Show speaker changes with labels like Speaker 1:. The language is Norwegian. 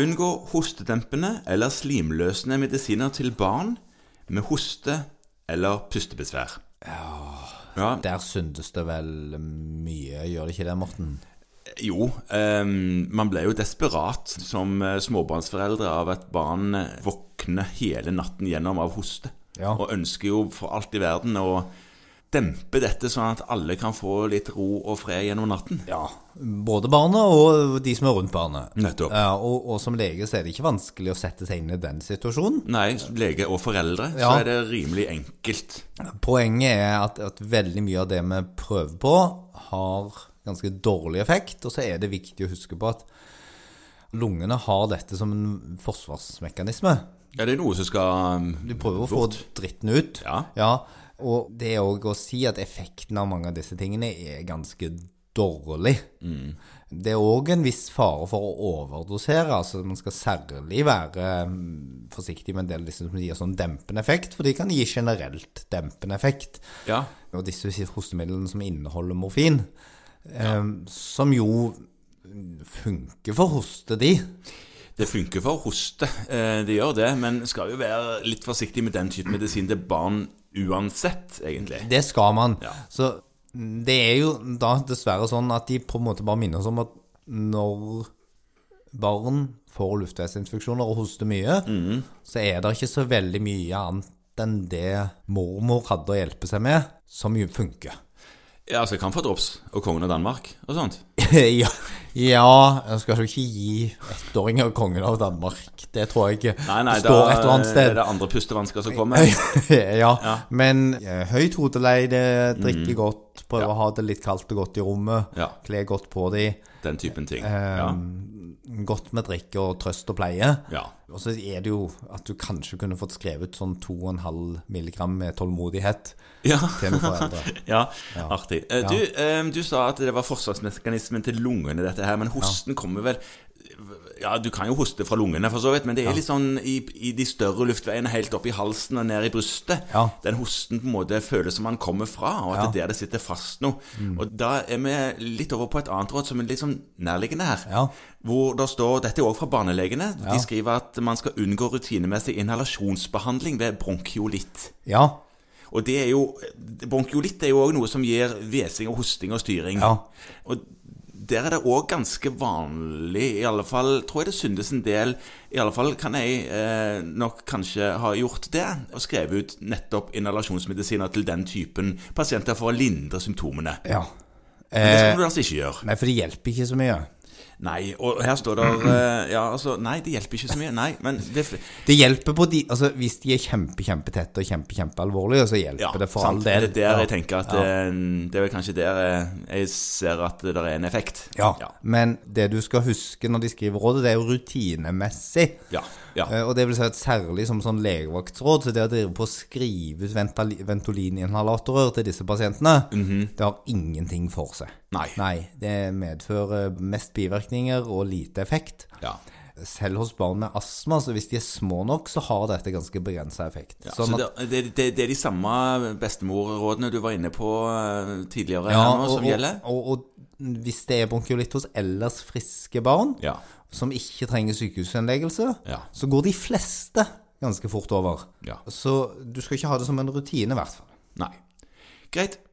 Speaker 1: Unngå hostedempende eller slimløsende medisiner til barn med hoste eller pustebesvær. Ja,
Speaker 2: Der syndes det vel mye, gjør det ikke det, Morten?
Speaker 1: Jo, ehm, man ble jo desperat som eh, småbarnsforeldre av at barn eh, våkner hele natten gjennom av hoste.
Speaker 2: Ja.
Speaker 1: Og ønsker jo for alt i verden å dempe dette, sånn at alle kan få litt ro og fred gjennom natten.
Speaker 2: Ja. Både barna og de som er rundt barnet.
Speaker 1: Nettopp.
Speaker 2: Ja, og, og som lege så er det ikke vanskelig å sette seg inn i den situasjonen.
Speaker 1: Nei, som lege og foreldre, så
Speaker 2: Ja.
Speaker 1: er det rimelig enkelt.
Speaker 2: Poenget er at, at veldig mye av det vi prøver på, har ganske dårlig effekt, og så er det viktig å huske på at lungene har dette som en forsvarsmekanisme.
Speaker 1: Ja, det er noe som skal
Speaker 2: Du prøver å få
Speaker 1: bort.
Speaker 2: dritten ut.
Speaker 1: Ja.
Speaker 2: Og det er òg å si at effekten av mange av disse tingene er ganske dårlig. Det er òg en viss fare for å overdosere. altså Man skal særlig være mm, forsiktig med en del av disse som gir sånn dempende effekt, for de kan gi generelt dempende effekt.
Speaker 1: Ja.
Speaker 2: Og disse hostemidlene som inneholder morfin, eh, som jo funker for hoste, de.
Speaker 1: Det funker for hoste, eh, det gjør det, men skal jo være litt forsiktig med den type medisin til barn uansett, egentlig.
Speaker 2: Det skal man.
Speaker 1: Ja.
Speaker 2: Så det er jo da dessverre sånn at de på en måte bare minner oss om at når barn får luftveisinfeksjoner og hoster mye,
Speaker 1: Mhm.
Speaker 2: så er det ikke så veldig mye annet enn det mormor hadde å hjelpe seg med, som jo funker.
Speaker 1: Ja, altså jeg kan få drops og kongen av Danmark og sånt.
Speaker 2: ja, ja, jeg skal jo ikke gi ettåringer kongen av Danmark. Det tror jeg ikke
Speaker 1: Nei, nei,
Speaker 2: det står
Speaker 1: da
Speaker 2: et eller annet sted.
Speaker 1: er det andre pustevansker som kommer.
Speaker 2: ja, men eh, høyt hodeleide, drikke godt, prøve
Speaker 1: Mm. Ja.
Speaker 2: å ha det litt kaldt og godt i rommet,
Speaker 1: Ja.
Speaker 2: kle godt på de,
Speaker 1: Den typen ting.
Speaker 2: Eh,
Speaker 1: Ja.
Speaker 2: mm. godt med drikke og trøst og pleie.
Speaker 1: ja.
Speaker 2: Og så er det jo at du kanskje kunne fått skrevet sånn 2,5 milligram med tålmodighet
Speaker 1: Ja.
Speaker 2: til noen foreldre.
Speaker 1: ja, artig. Eh, Du, eh, du sa at det var forsvarsmekanismen til lungene, dette her, men hosten kommer vel Ja, du kan jo hoste fra lungene, for så vidt, men det er litt sånn i, i de større luftveiene, helt opp i halsen og ned i brystet.
Speaker 2: Ja.
Speaker 1: Den hosten på en måte føles som den kommer fra, og at det er der det sitter fast noe. Og da er vi litt over på et annet råd som er litt sånn nærliggende her.
Speaker 2: Ja.
Speaker 1: Hvor det står, Dette er også fra barnelegene. De skriver at man skal unngå rutinemessig inhalasjonsbehandling ved bronkiolitt.
Speaker 2: Ja,
Speaker 1: Og det er jo, Bronkiolitt er jo også noe som gir hvesing og hosting og styring.
Speaker 2: Ja.
Speaker 1: Og der er det òg ganske vanlig, i alle fall tror jeg det syndes en del I alle fall kan jeg eh, nok kanskje ha gjort det, og skrevet ut nettopp inhalasjonsmedisiner til den typen pasienter for å lindre symptomene.
Speaker 2: ja.
Speaker 1: Men
Speaker 2: Eh.
Speaker 1: det skal du altså ikke gjøre.
Speaker 2: Nei, for det hjelper ikke så mye.
Speaker 1: Nei, og her står det eh, Ja, altså Nei, det hjelper ikke så mye. Nei, men det
Speaker 2: Det hjelper på de, altså hvis de er kjempe, kjempetette og kjempe, kjempealvorlige, så hjelper
Speaker 1: ja,
Speaker 2: det for
Speaker 1: sant.
Speaker 2: all del.
Speaker 1: Det er der jeg
Speaker 2: Ja.
Speaker 1: tenker at eh, Det er vel kanskje der eh, jeg ser at det er en effekt.
Speaker 2: Ja,
Speaker 1: Ja.
Speaker 2: men det du skal huske når de skriver rådet, det er jo rutinemessig.
Speaker 1: Ja, ja.
Speaker 2: Eh, Og det vil si at særlig som sånn legevaktsråd, så det å drive på å skrive ut ventali- ventolininhalatorer til disse pasientene, det har ingenting for seg.
Speaker 1: Mhm. Nei.
Speaker 2: det medfører mest bivirkninger og lite effekt.
Speaker 1: ja.
Speaker 2: Selv hos barn med astma, så hvis de er små nok, så har dette ganske begrenset effekt.
Speaker 1: Ja,
Speaker 2: Sånn
Speaker 1: så
Speaker 2: at-
Speaker 1: det, det, det, det er de samme bestemorrådene du var inne på eh, tidligere
Speaker 2: Ja,
Speaker 1: her nå, som gjelder?
Speaker 2: Og, og, og hvis det er bronkiolitt hos ellers friske barn,
Speaker 1: Ja.
Speaker 2: som ikke trenger sykehusinnleggelse,
Speaker 1: Ja.
Speaker 2: så går de fleste ganske fort over.
Speaker 1: Ja.
Speaker 2: Så du skal ikke ha det som en rutine, i hvert fall.
Speaker 1: Nei. Greit.